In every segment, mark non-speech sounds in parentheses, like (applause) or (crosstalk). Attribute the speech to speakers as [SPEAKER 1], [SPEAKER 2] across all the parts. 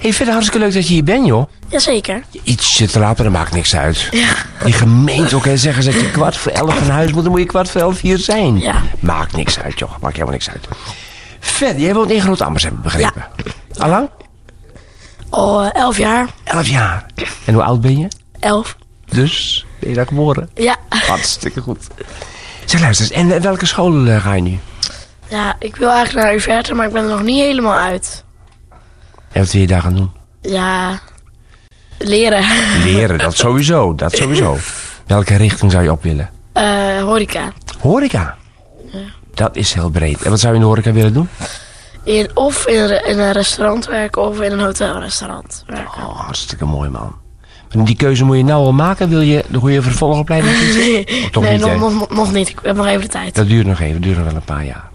[SPEAKER 1] Hey, verder hartstikke leuk dat je hier bent, joh.
[SPEAKER 2] Jazeker.
[SPEAKER 1] Iets te laat, maar dat maakt niks uit.
[SPEAKER 2] Ja.
[SPEAKER 1] Die gemeente ook, hè, zeggen ze dat je kwart voor elf van huis moet, dan moet je kwart voor elf hier zijn.
[SPEAKER 2] Ja.
[SPEAKER 1] Maakt niks uit, joh. Maakt helemaal niks uit. Verder, jij woont in Groot-Ammers, heb ik begrepen. Allang?
[SPEAKER 2] Al eh, elf jaar.
[SPEAKER 1] Elf jaar. En hoe oud ben je?
[SPEAKER 2] Elf.
[SPEAKER 1] Dus, ben je daar geboren?
[SPEAKER 2] Ja.
[SPEAKER 1] Hartstikke goed. Zeg, luister eens, en eh, welke school eh, ga je nu?
[SPEAKER 2] Ja, ik wil eigenlijk naar Uverte, maar ik ben er nog niet helemaal uit.
[SPEAKER 1] En wat wil je daar gaan doen?
[SPEAKER 2] Ja. Leren. (laughs)
[SPEAKER 1] Leren, dat sowieso, dat sowieso. Welke richting zou je op willen?
[SPEAKER 2] Eh, horeca.
[SPEAKER 1] Horeca. Dat is heel breed. En wat zou je in de horeca willen doen?
[SPEAKER 2] In, of in, een- in een restaurant werken of in een hotelrestaurant werken.
[SPEAKER 1] Oh, hartstikke mooi, man. Maar die keuze moet je nou al maken. Wil je de goede
[SPEAKER 2] (laughs)
[SPEAKER 1] vervolgopleiding kiezen?
[SPEAKER 2] nee,
[SPEAKER 1] toch
[SPEAKER 2] nee
[SPEAKER 1] niet, hè?
[SPEAKER 2] nog, nog, nog niet. Ik heb nog even de tijd.
[SPEAKER 1] Dat duurt nog even, dat duurt nog wel een paar jaar.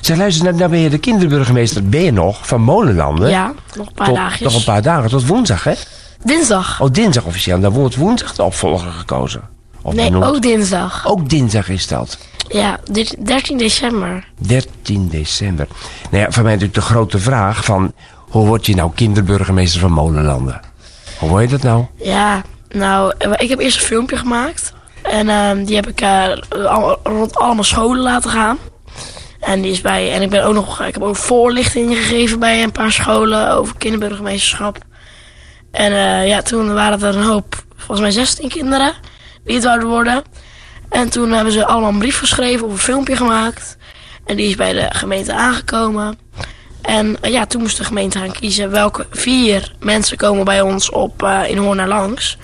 [SPEAKER 1] Zeg, luister, nou, nou ben je de kinderburgemeester, ben je nog, van Molenlanden.
[SPEAKER 2] Ja, nog een paar
[SPEAKER 1] Tot-
[SPEAKER 2] dagjes.
[SPEAKER 1] Nog een paar dagen, tot woensdag, hè?
[SPEAKER 2] Dinsdag.
[SPEAKER 1] Oh, dinsdag officieel. En Dan wordt woensdag de opvolger gekozen. Of
[SPEAKER 2] nee,
[SPEAKER 1] benoemd.
[SPEAKER 2] ook dinsdag.
[SPEAKER 1] Ook dinsdag is dat.
[SPEAKER 2] Ja, dit- 13 december.
[SPEAKER 1] 13 december. Nou ja, voor mij natuurlijk de grote vraag van... hoe word je nou kinderburgemeester van Molenlanden? Hoe word je dat nou?
[SPEAKER 2] Ja, nou, eh, ik heb eerst een filmpje gemaakt. En ehm, die heb ik eh, al- rond allemaal scholen laten gaan. En die is bij. En ik ben ook nog. Ik heb ook voorlichting gegeven bij een paar scholen over kinderburgemeesterschap. En eh, ja, toen waren er een hoop, volgens mij 16 kinderen die het zouden worden. En toen hebben ze allemaal een brief geschreven of een filmpje gemaakt. En die is bij de gemeente aangekomen. En eh, ja, toen moest de gemeente gaan kiezen welke vier mensen komen bij ons op eh, in Hoorn naar langs.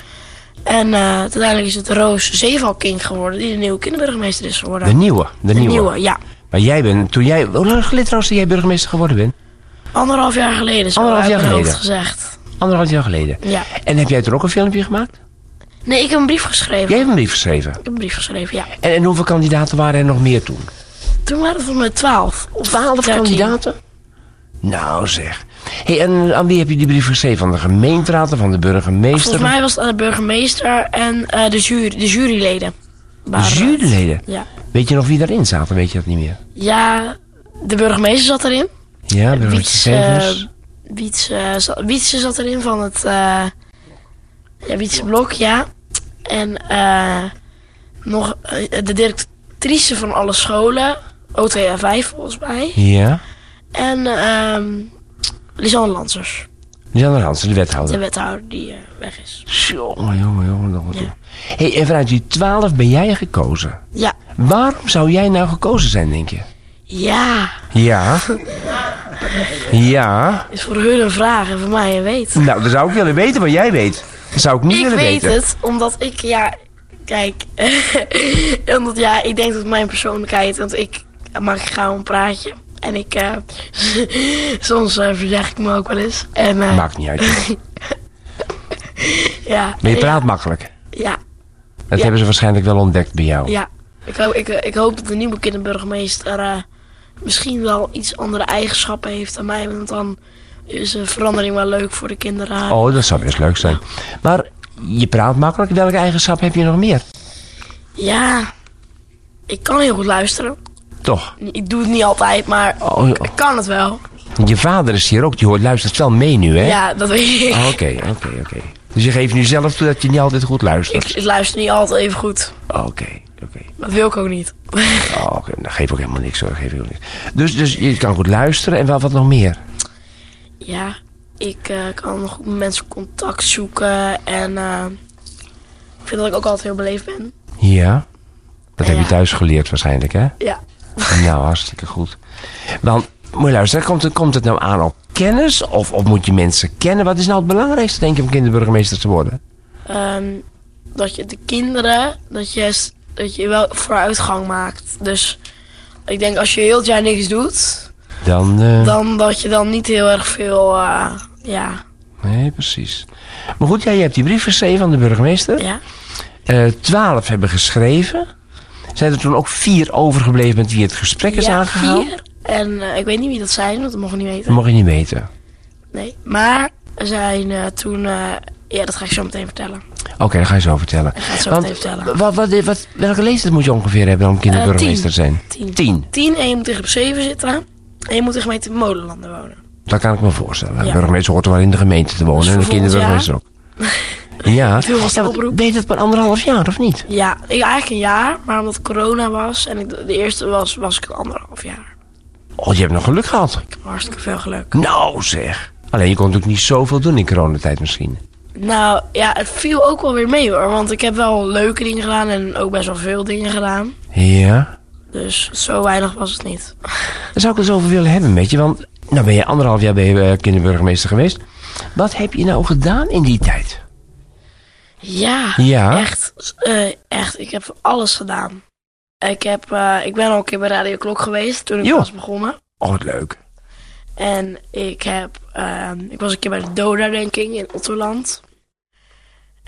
[SPEAKER 2] En eh, uiteindelijk is het Roos Zeevalkink geworden, die de nieuwe kinderburgemeester is geworden.
[SPEAKER 1] De nieuwe. De,
[SPEAKER 2] De
[SPEAKER 1] nieuwe.
[SPEAKER 2] ja.
[SPEAKER 1] Maar jij bent, toen jij... Hoe lang geleden trouwens dat jij burgemeester geworden bent?
[SPEAKER 2] Anderhalf jaar geleden, zo
[SPEAKER 1] Anderhalf
[SPEAKER 2] uit
[SPEAKER 1] jaar
[SPEAKER 2] mijn hoofd
[SPEAKER 1] geleden.
[SPEAKER 2] gezegd.
[SPEAKER 1] Anderhalf jaar geleden.
[SPEAKER 2] Ja.
[SPEAKER 1] En heb jij er ook een filmpje gemaakt?
[SPEAKER 2] Nee, ik heb een brief geschreven.
[SPEAKER 1] Jij hebt een brief geschreven.
[SPEAKER 2] Ik heb een brief geschreven, ja.
[SPEAKER 1] En, en hoeveel kandidaten waren er nog meer toen?
[SPEAKER 2] Toen waren het volgens mij twaalf. Of
[SPEAKER 1] Twaalf
[SPEAKER 2] dertien.
[SPEAKER 1] kandidaten? Nou zeg. Hey, en aan wie heb je die brief geschreven? Van de gemeenteraad of van de burgemeester?
[SPEAKER 2] Volgens mij was het aan de burgemeester en eh, de, jury, de juryleden.
[SPEAKER 1] De
[SPEAKER 2] waren-
[SPEAKER 1] juryleden.
[SPEAKER 2] Ja.
[SPEAKER 1] Weet je nog wie daarin zaten? Weet je dat niet meer?
[SPEAKER 2] ja, de burgemeester zat erin. Eh,
[SPEAKER 1] Ja, burgemeester dus?
[SPEAKER 2] Wiets,
[SPEAKER 1] Severs.
[SPEAKER 2] eh, Wiets, eh, za- Wietse zat erin van het eh ja, Wietse Blok, ja. En eh, nog eh, de directrice van alle scholen, OTR5 volgens mij.
[SPEAKER 1] ja.
[SPEAKER 2] En ehm Lisanne Lansers,
[SPEAKER 1] Jan Hansen, de wethouder. Oh,
[SPEAKER 2] de wethouder die eh, weg is.
[SPEAKER 1] Jongen, jongen, jongen, nog wat
[SPEAKER 2] Ja.
[SPEAKER 1] toe. Hey, en vanuit die twaalf ben jij gekozen.
[SPEAKER 2] Ja,
[SPEAKER 1] Waarom zou jij nou gekozen zijn, denk je?
[SPEAKER 2] ja,
[SPEAKER 1] Ja. ja.
[SPEAKER 2] is voor hun een vraag en voor mij een weet.
[SPEAKER 1] Nou, dan zou ik willen weten wat jij weet. Dat zou ik niet
[SPEAKER 2] Ik
[SPEAKER 1] willen
[SPEAKER 2] weet
[SPEAKER 1] weten.
[SPEAKER 2] het, omdat ik, ja, kijk, (laughs) omdat ja, ik denk dat mijn persoonlijkheid, want ik maak gauw een praatje. En ik, eh, (laughs) soms eh, verjaag ik me ook wel eens. En, eh,
[SPEAKER 1] Maakt niet uit. joh.
[SPEAKER 2] ja,
[SPEAKER 1] Maar je
[SPEAKER 2] ja,
[SPEAKER 1] praat makkelijk.
[SPEAKER 2] Ja,
[SPEAKER 1] Dat
[SPEAKER 2] Ja.
[SPEAKER 1] hebben ze waarschijnlijk wel ontdekt bij jou.
[SPEAKER 2] ja. Ik, hoop, ik, eh, ik hoop dat de nieuwe kinderburgemeester eh, misschien wel iets andere eigenschappen heeft dan mij. Want dan is een verandering wel leuk voor de kinderen.
[SPEAKER 1] Oh, dat zou best leuk zijn. Maar je praat makkelijk. Welke eigenschap heb je nog meer?
[SPEAKER 2] Ja, ik kan heel goed luisteren.
[SPEAKER 1] Toch?
[SPEAKER 2] Ik doe het niet altijd, maar
[SPEAKER 1] Oh, ja.
[SPEAKER 2] ik kan het wel.
[SPEAKER 1] Je vader is hier ook. Die hoort, luistert wel mee nu, hè?
[SPEAKER 2] Ja, dat weet ik.
[SPEAKER 1] Ah, Oké, oké, oké. Dus je geeft nu zelf toe dat je niet altijd goed
[SPEAKER 2] Ik,
[SPEAKER 1] luistert.
[SPEAKER 2] (laughs) ik luister niet altijd even goed.
[SPEAKER 1] Oké, oké.
[SPEAKER 2] Dat wil ik ook niet. (laughs)
[SPEAKER 1] Oh, oké. Dat geeft ook helemaal niks hoor. Geef ook niks. Dus, dus je kan goed luisteren en wat, wat nog meer?
[SPEAKER 2] ja, ik eh, kan goed met mensen contact zoeken. En eh, ik vind dat ik ook altijd heel beleefd ben.
[SPEAKER 1] Ja. Dat heb je
[SPEAKER 2] Ja.
[SPEAKER 1] thuis geleerd waarschijnlijk,
[SPEAKER 2] (laughs)
[SPEAKER 1] hè?
[SPEAKER 2] Ja.
[SPEAKER 1] Nou, hartstikke goed. Want, moet je luisteren, komt het, komt het nou aan op kennis of, of moet je mensen kennen? Wat is nou het belangrijkste, denk je, om kinderburgemeester te worden?
[SPEAKER 2] Ehm, dat je de kinderen, dat je, s- dat je wel vooruitgang maakt. Dus ik denk als je heel het jaar niks doet,
[SPEAKER 1] Dan, eh,
[SPEAKER 2] dan dat je dan niet heel erg veel, eh, ja,
[SPEAKER 1] Nee, precies. Maar goed, jij hebt die brief geschreven aan de burgemeester.
[SPEAKER 2] ja.
[SPEAKER 1] Eh, twaalf hebben geschreven. Zijn er toen ook vier overgebleven met wie het gesprek is
[SPEAKER 2] Ja,
[SPEAKER 1] aangegaan?
[SPEAKER 2] vier. En eh, ik weet niet wie dat zijn, want dat mocht ik niet weten.
[SPEAKER 1] Dat mag je niet weten.
[SPEAKER 2] Nee. Maar er zijn eh, toen. eh, ja, dat ga ik zo meteen vertellen.
[SPEAKER 1] Oké, dat ga je zo vertellen.
[SPEAKER 2] ga het zo
[SPEAKER 1] Want,
[SPEAKER 2] meteen vertellen.
[SPEAKER 1] Wat, wat, wat, welke leeftijd moet je ongeveer hebben om kinderburgemeester
[SPEAKER 2] Eh,
[SPEAKER 1] te zijn?
[SPEAKER 2] Tien.
[SPEAKER 1] Tien.
[SPEAKER 2] Tien, en je moet tegen op 7 zitten. En je moet in de gemeente Molenlanden wonen.
[SPEAKER 1] Dat kan ik me voorstellen.
[SPEAKER 2] Ja.
[SPEAKER 1] Een burgemeester hoort wel in de gemeente te wonen.
[SPEAKER 2] Dus
[SPEAKER 1] en de
[SPEAKER 2] vervolgens,
[SPEAKER 1] kinderburgemeester ook. Ja.
[SPEAKER 2] Toen was de
[SPEAKER 1] ja want
[SPEAKER 2] oproep.
[SPEAKER 1] ben je dat maar anderhalf jaar of niet?
[SPEAKER 2] Ja, ik, eigenlijk een jaar, maar omdat corona was en ik de de eerste was, was ik een anderhalf jaar.
[SPEAKER 1] Oh, je hebt nog geluk gehad.
[SPEAKER 2] Ik heb hartstikke veel geluk.
[SPEAKER 1] Nou zeg. Alleen je kon natuurlijk niet zoveel doen in coronatijd misschien.
[SPEAKER 2] Nou ja, het viel ook wel weer mee hoor, want ik heb wel leuke dingen gedaan en ook best wel veel dingen gedaan.
[SPEAKER 1] Ja.
[SPEAKER 2] Dus zo weinig was het niet.
[SPEAKER 1] Daar zou ik het eens over willen hebben met je. Want nou ben je anderhalf jaar ben je, eh, kinderburgemeester geweest. Wat heb je nou gedaan in die tijd?
[SPEAKER 2] Ja,
[SPEAKER 1] Ja.
[SPEAKER 2] Echt, eh, echt, ik heb alles gedaan. Ik, heb, eh, ik ben al een keer bij Radio Klok geweest toen ik
[SPEAKER 1] Joh.
[SPEAKER 2] was begonnen.
[SPEAKER 1] Oh, wat leuk.
[SPEAKER 2] En ik heb, ehm, ik was een keer bij de Doda-denking in Ottoland.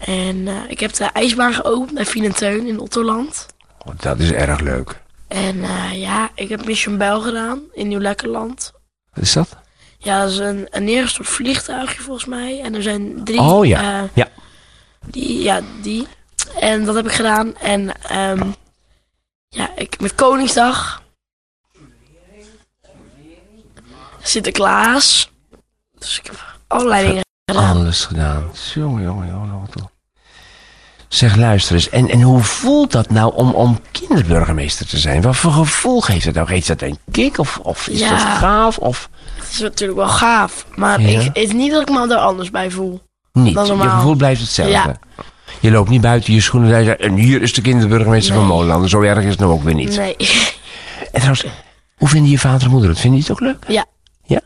[SPEAKER 2] En eh, ik heb de ijsbaan geopend bij Fien en Teun in Ottoland.
[SPEAKER 1] Oh, dat is erg leuk.
[SPEAKER 2] En eh, ja, ik heb Mission Bell gedaan in Nieuw-Lekkerland.
[SPEAKER 1] Wat is dat?
[SPEAKER 2] Ja, dat is een, een neergestort vliegtuigje volgens mij. En er zijn drie.
[SPEAKER 1] Oh ja.
[SPEAKER 2] eh,
[SPEAKER 1] Ja.
[SPEAKER 2] die, ja, die. En dat heb ik gedaan. En ehm, ja, ik, met Koningsdag. Sinterklaas. Dus ik heb allerlei dingen gedaan.
[SPEAKER 1] Alles gedaan. Jongen, jongen, jongen. wat toch. Zeg, luister eens. En, en hoe voelt dat nou om, om kinderburgemeester te zijn? Wat voor gevoel geeft dat nou? Geeft dat een kick? Of, of is
[SPEAKER 2] Ja.
[SPEAKER 1] dat gaaf? Of
[SPEAKER 2] Het is natuurlijk wel gaaf. Maar
[SPEAKER 1] Ja.
[SPEAKER 2] ik, het is niet dat ik me daar anders bij voel.
[SPEAKER 1] niet?
[SPEAKER 2] Dat is
[SPEAKER 1] Je
[SPEAKER 2] normaal.
[SPEAKER 1] gevoel blijft hetzelfde.
[SPEAKER 2] Ja.
[SPEAKER 1] Je loopt niet buiten je schoenen en zegt... En hier is de kinderburgemeester van
[SPEAKER 2] Nee.
[SPEAKER 1] Molenlanden. Zo erg is het nou ook weer niet.
[SPEAKER 2] Nee. (laughs)
[SPEAKER 1] En trouwens, hoe vinden je vader en moeder het? Vinden die het ook leuk?
[SPEAKER 2] ja.
[SPEAKER 1] Ja?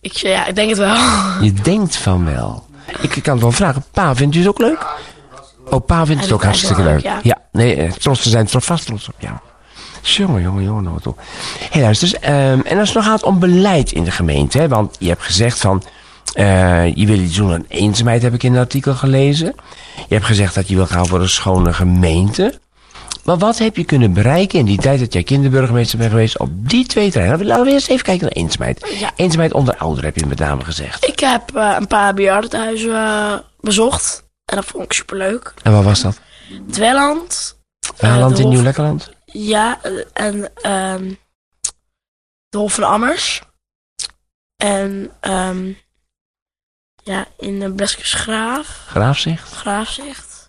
[SPEAKER 2] Ik, ja, ik denk het wel. (laughs)
[SPEAKER 1] Je denkt van wel. Ik kan het wel vragen. Pa, vindt u het ook leuk? Oh, pa vindt het ook
[SPEAKER 2] Hij vindt het
[SPEAKER 1] hartstikke leuk.
[SPEAKER 2] eigenlijk
[SPEAKER 1] Ja.
[SPEAKER 2] wel
[SPEAKER 1] nee, eh, trots te zijn, trots vast trots op jou. Jongen, jongen, jongen, nou toch. Hé, luister, dus, ehm, en als het nog gaat om beleid in de gemeente, hè, want je hebt gezegd van, eh, je wil iets doen aan eenzaamheid, heb ik in een artikel gelezen. Je hebt gezegd dat je wil gaan voor een schone gemeente. Maar wat heb je kunnen bereiken in die tijd dat jij kinderburgemeester bent geweest op die twee terreinen? Laten we eerst even kijken naar eenzaamheid.
[SPEAKER 2] Ja.
[SPEAKER 1] Eenzaamheid onder ouderen heb je met name gezegd.
[SPEAKER 2] Ik heb eh, een paar bejaardenhuizen eh, bezocht. En dat vond ik superleuk.
[SPEAKER 1] En wat was dat?
[SPEAKER 2] Dwelland. eh,
[SPEAKER 1] Haaland
[SPEAKER 2] de
[SPEAKER 1] in
[SPEAKER 2] Hof-
[SPEAKER 1] Nieuw-Lekkerland?
[SPEAKER 2] Ja, eh, en ehm, de Hof van Ammers. En ehm, ja, in de Bleskensgraaf,
[SPEAKER 1] Graafzicht?
[SPEAKER 2] Graafzicht.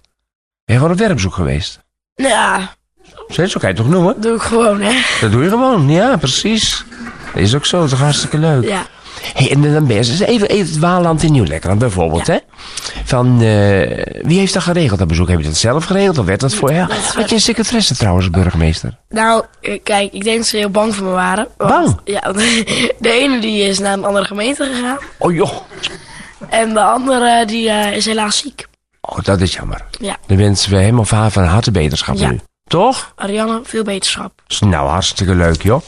[SPEAKER 1] Ben je gewoon op werkbezoek geweest?
[SPEAKER 2] Nou ja,
[SPEAKER 1] Steeds, zo kan je het toch noemen?
[SPEAKER 2] doe ik gewoon, hè.
[SPEAKER 1] Dat doe je gewoon, ja, precies. Dat is ook zo, dat is hartstikke leuk.
[SPEAKER 2] Ja,
[SPEAKER 1] Hey, en dan ben je dus even, even het Waaland in Nieuw-Lekkerland bijvoorbeeld, hè? Van, eh, wie heeft dat geregeld, dat bezoek? Heb je dat zelf geregeld of werd dat voor jou?
[SPEAKER 2] dat is
[SPEAKER 1] Had je een secretaresse trouwens, als burgemeester?
[SPEAKER 2] Nou, eh, kijk, ik denk dat ze heel bang voor me waren. Want-
[SPEAKER 1] Bang?
[SPEAKER 2] Ja, (laughs) want de ene die is naar een andere gemeente gegaan.
[SPEAKER 1] Oh joh,
[SPEAKER 2] En de andere die eh, is helaas ziek.
[SPEAKER 1] oh, dat is jammer.
[SPEAKER 2] Ja.
[SPEAKER 1] Dan wensen we hem of haar van harte beterschap
[SPEAKER 2] Ja.
[SPEAKER 1] nu. Toch?
[SPEAKER 2] Ariane, veel beterschap.
[SPEAKER 1] Nou, hartstikke leuk, joh.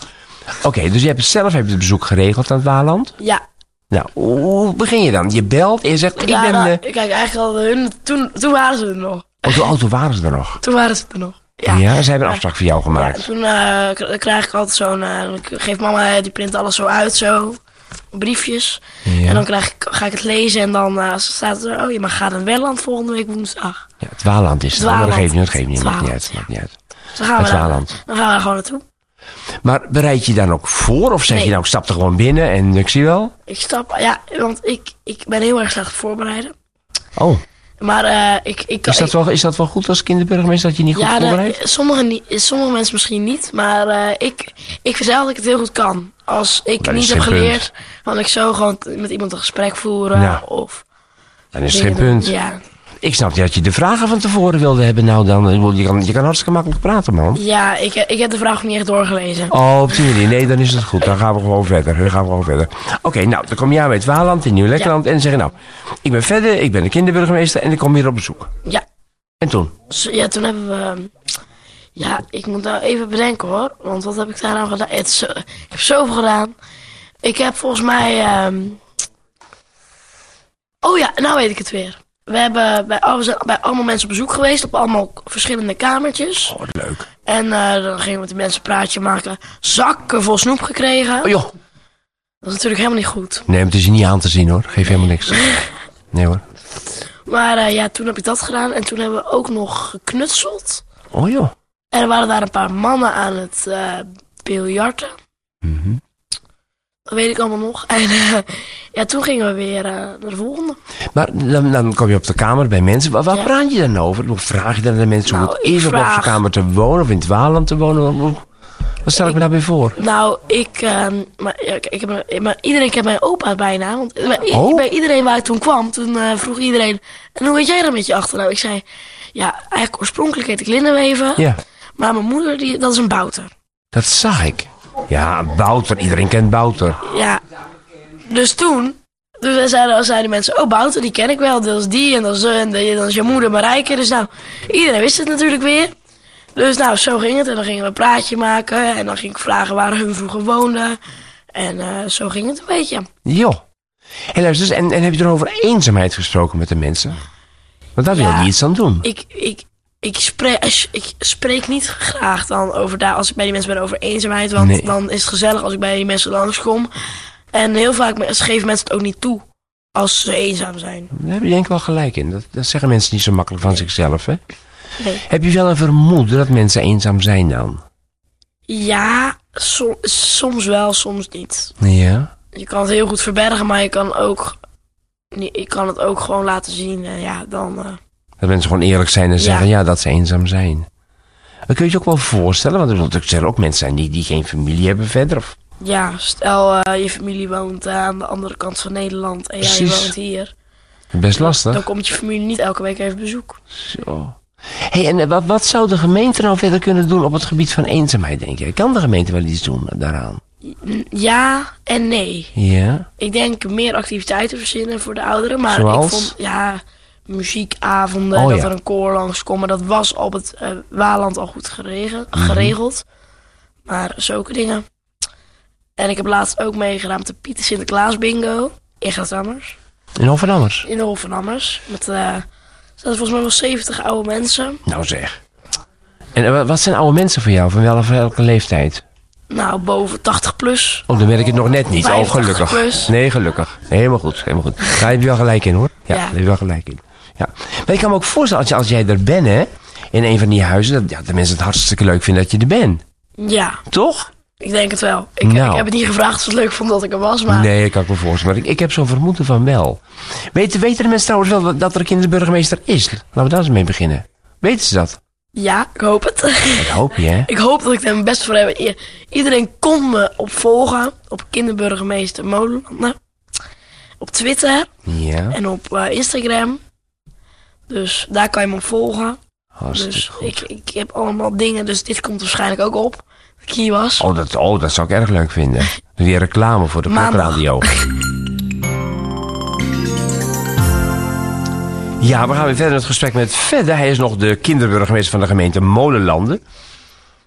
[SPEAKER 1] Oké, dus je hebt zelf heb je het bezoek geregeld aan het Waaland.
[SPEAKER 2] Ja,
[SPEAKER 1] Nou, hoe- hoe begin je dan? Je belt en je zegt, ik
[SPEAKER 2] ja,
[SPEAKER 1] ben...
[SPEAKER 2] nou,
[SPEAKER 1] eh,
[SPEAKER 2] kijk, eigenlijk al hun, toen, toen waren ze er nog.
[SPEAKER 1] Oh, hoe oud waren ze er nog?
[SPEAKER 2] Toen waren ze er nog. Ja.
[SPEAKER 1] Ja, ze hebben een afspraak voor jou
[SPEAKER 2] Ja,
[SPEAKER 1] gemaakt.
[SPEAKER 2] toen eh, k- dan krijg ik altijd zo'n... eh, dan geeft mama, eh, die print alles zo uit, zo. Briefjes.
[SPEAKER 1] Ja.
[SPEAKER 2] En dan krijg ik, ga ik het lezen en dan eh, staat er... Oh, je mag gaan naar Welland volgende week woensdag.
[SPEAKER 1] Ja, het Waaland is het.
[SPEAKER 2] Dwaland.
[SPEAKER 1] Maar dat geeft niet, dat geeft niet, maakt niet uit.
[SPEAKER 2] Dwaland,
[SPEAKER 1] Maakt niet uit.
[SPEAKER 2] Dus dan gaan
[SPEAKER 1] Het
[SPEAKER 2] we daar-
[SPEAKER 1] Waaland.
[SPEAKER 2] Dan gaan we er gewoon naartoe.
[SPEAKER 1] Maar bereid je dan ook voor? Of zeg
[SPEAKER 2] Nee.
[SPEAKER 1] je nou, ik stap er gewoon binnen en ik zie wel?
[SPEAKER 2] Ik stap, ja, want ik, ik ben heel erg slecht voorbereiden.
[SPEAKER 1] Oh,
[SPEAKER 2] Maar eh, ik, ik kan.
[SPEAKER 1] is dat wel, is dat wel goed als kinderburgemeester dat je niet
[SPEAKER 2] ik-
[SPEAKER 1] goed
[SPEAKER 2] ja,
[SPEAKER 1] voorbereidt?
[SPEAKER 2] de- sommige, niet- sommige mensen misschien niet, maar eh, ik, ik vind zelf dat ik het heel goed kan. Als ik
[SPEAKER 1] Dat is
[SPEAKER 2] niet heb
[SPEAKER 1] geen punt.
[SPEAKER 2] geleerd, kan ik zo gewoon t- met iemand een gesprek voeren.
[SPEAKER 1] Ja.
[SPEAKER 2] Of
[SPEAKER 1] Dan is het geen
[SPEAKER 2] dingen doen.
[SPEAKER 1] punt.
[SPEAKER 2] Ja,
[SPEAKER 1] Ik snap dat je de vragen van tevoren wilde hebben. Nou dan, ik bedoel, je kan, je kan hartstikke makkelijk praten, man.
[SPEAKER 2] ja ik, ik heb de vraag niet echt doorgelezen.
[SPEAKER 1] Oh, op die manier. Nee, dan is het goed. Dan gaan we gewoon verder. Dan gaan we gewoon verder. Oké, nou, dan kom jij bij het Waaland in Nieuw-Lekkerland en dan zeg je nou... Ik ben verder, ik ben de kinderburgemeester en ik kom hier op bezoek.
[SPEAKER 2] Ja,
[SPEAKER 1] En toen?
[SPEAKER 2] dus, ja toen hebben we. ehm, Ja, ik moet nou even bedenken hoor. Want wat heb ik daar nou gedaan? Het is, eh, ik heb zoveel gedaan. Ik heb volgens mij. ehm, Oh ja, nou weet ik het weer. We, hebben bij, al- we zijn bij allemaal mensen op bezoek geweest. Op allemaal verschillende kamertjes.
[SPEAKER 1] Oh, wat leuk.
[SPEAKER 2] En eh, dan gingen we met de mensen een praatje maken. Zakken vol snoep gekregen.
[SPEAKER 1] Oh, joh.
[SPEAKER 2] Dat is natuurlijk helemaal niet goed.
[SPEAKER 1] Nee, maar het is je niet aan te zien hoor. Geef helemaal niks. Nee hoor.
[SPEAKER 2] Maar eh, ja, toen heb ik dat gedaan. En toen hebben we ook nog geknutseld.
[SPEAKER 1] Oh joh. Mhm.
[SPEAKER 2] En er waren daar een paar mannen aan het eh biljarten. Dat weet ik allemaal nog. (laughs) En eh, ja, toen gingen we weer eh, naar de volgende.
[SPEAKER 1] Maar dan, dan kom je op de kamer bij mensen. Waar, waar
[SPEAKER 2] Ja.
[SPEAKER 1] praat je dan over? Hoe vraag je dan aan mensen hoe
[SPEAKER 2] Nou,
[SPEAKER 1] het
[SPEAKER 2] ik
[SPEAKER 1] is om op zo'n
[SPEAKER 2] vraag-
[SPEAKER 1] kamer te wonen of in het Waaland te wonen? Hoe- Wat stel ik me daarbij voor?
[SPEAKER 2] Nou, ik, ehm, maar, ja, ik, ik heb, een- maar iedereen kent mijn opa bijna. Want bij, i-
[SPEAKER 1] Oh.
[SPEAKER 2] bij iedereen waar ik toen kwam, toen eh, vroeg iedereen... En hoe heet jij dan met je achternaam? Ik zei, ja, eigenlijk oorspronkelijk heet ik Lindenweven.
[SPEAKER 1] Ja,
[SPEAKER 2] Maar mijn moeder, die, dat is een bouter.
[SPEAKER 1] dat zag ik. Ja, Bouter. Iedereen kent Bouter.
[SPEAKER 2] Ja. Dus toen dus we zeiden, zeiden mensen, oh Bouter, die ken ik wel. Dat is die en dat is, eh, en die- dat is je moeder Marijke. Dus nou, iedereen wist het natuurlijk weer. Dus nou, zo ging het. En dan gingen we een praatje maken. En dan ging ik vragen waar hun vroeger woonden. En eh, zo ging het een beetje.
[SPEAKER 1] Joh. Hé, luister, dus, en, en heb je erover eenzaamheid gesproken met de mensen? Want daar wil
[SPEAKER 2] Ja.
[SPEAKER 1] je iets aan doen.
[SPEAKER 2] Ik, ik, ik, spreek, ik spreek niet graag dan over daar, als ik bij die mensen ben over eenzaamheid. Want
[SPEAKER 1] Nee.
[SPEAKER 2] dan is het gezellig als ik bij die mensen langskom. En heel vaak me- ze geven mensen het ook niet toe als ze eenzaam zijn.
[SPEAKER 1] Daar heb je denk ik wel gelijk in. Dat, dat zeggen mensen niet zo makkelijk van zichzelf, hè?
[SPEAKER 2] Nee.
[SPEAKER 1] Heb je wel een vermoeden dat mensen eenzaam zijn dan?
[SPEAKER 2] Ja, som- soms wel, soms niet.
[SPEAKER 1] Ja.
[SPEAKER 2] Je kan het heel goed verbergen, maar je kan, ook, niet- je kan het ook gewoon laten zien. En ja, dan... eh,
[SPEAKER 1] Dat mensen gewoon eerlijk zijn en zeggen ja, dat ze eenzaam zijn. Dat kun je je ook wel voorstellen, want er zullen natuurlijk zelf ook mensen zijn die, die geen familie hebben verder. Of,
[SPEAKER 2] ja, stel eh, je familie woont eh, aan de andere kant van Nederland en jij
[SPEAKER 1] Precies.
[SPEAKER 2] woont hier.
[SPEAKER 1] best
[SPEAKER 2] Dan
[SPEAKER 1] lastig.
[SPEAKER 2] komt je familie niet elke week even bezoek.
[SPEAKER 1] Zo. hey, en eh, wat, wat zou de gemeente nou verder kunnen doen op het gebied van eenzaamheid, denk je? Kan de gemeente wel iets doen daaraan?
[SPEAKER 2] Ja en nee.
[SPEAKER 1] Ja.
[SPEAKER 2] Ik denk meer activiteiten verzinnen voor de ouderen. Maar
[SPEAKER 1] Zoals?
[SPEAKER 2] ik vond ja, muziekavonden,
[SPEAKER 1] Oh,
[SPEAKER 2] dat
[SPEAKER 1] ja.
[SPEAKER 2] er een koor langskomt. Maar dat was op het eh, Waland al goed gerege-
[SPEAKER 1] Mhm.
[SPEAKER 2] geregeld. Maar zulke dingen. En ik heb laatst ook meegedaan met de Pieter Sinterklaas bingo. In Gratammers.
[SPEAKER 1] En of anders?
[SPEAKER 2] In de Hof van Ammers. Met, eh er zaten volgens mij wel 70 oude mensen.
[SPEAKER 1] Nou zeg. En eh, wa- wat zijn oude mensen voor jou? Van wel- van welke leeftijd?
[SPEAKER 2] Nou, boven 80 plus.
[SPEAKER 1] Oh, dan ben ik het nog net niet. Oh,
[SPEAKER 2] 50
[SPEAKER 1] gelukkig.
[SPEAKER 2] plus.
[SPEAKER 1] Nee, gelukkig. Nee, helemaal goed. Helemaal goed. Daar heb je wel gelijk in, hoor. Ja,
[SPEAKER 2] Ja.
[SPEAKER 1] daar heb je wel gelijk in. Ja. Maar ik kan me ook voorstellen, als, je, als jij er bent, hè, in een van die huizen, dat ja, de mensen het hartstikke leuk vinden dat je er bent.
[SPEAKER 2] Ja,
[SPEAKER 1] Toch?
[SPEAKER 2] ik denk het wel. Ik,
[SPEAKER 1] Nou.
[SPEAKER 2] ik heb het niet gevraagd of ze het leuk vond dat ik er was. Maar
[SPEAKER 1] Nee, ik kan ik me voorstellen. Maar ik, ik heb zo'n vermoeden van wel. Weten, weten de mensen trouwens wel dat er een kinderburgemeester is? Laten we daar eens mee beginnen. Weten ze dat?
[SPEAKER 2] ja, ik hoop het. (laughs)
[SPEAKER 1] Dat hoop je, hè?
[SPEAKER 2] Ik hoop dat ik daar mijn best voor heb. I- Iedereen kon me opvolgen op kinderburgemeester Molenlander. Op Twitter
[SPEAKER 1] Ja.
[SPEAKER 2] en op eh, Instagram. Dus daar kan je me op volgen.
[SPEAKER 1] Hartstikke
[SPEAKER 2] Dus
[SPEAKER 1] goed.
[SPEAKER 2] ik, ik heb allemaal dingen. Dus dit komt waarschijnlijk ook op. Dat ik hier was.
[SPEAKER 1] Oh dat, oh, dat zou ik erg leuk vinden. Die reclame voor de
[SPEAKER 2] Maandag.
[SPEAKER 1] Klokradio. Ja, we gaan weer verder met het gesprek met Fedde. Hij is nog de kinderburgemeester van de gemeente Molenlanden. We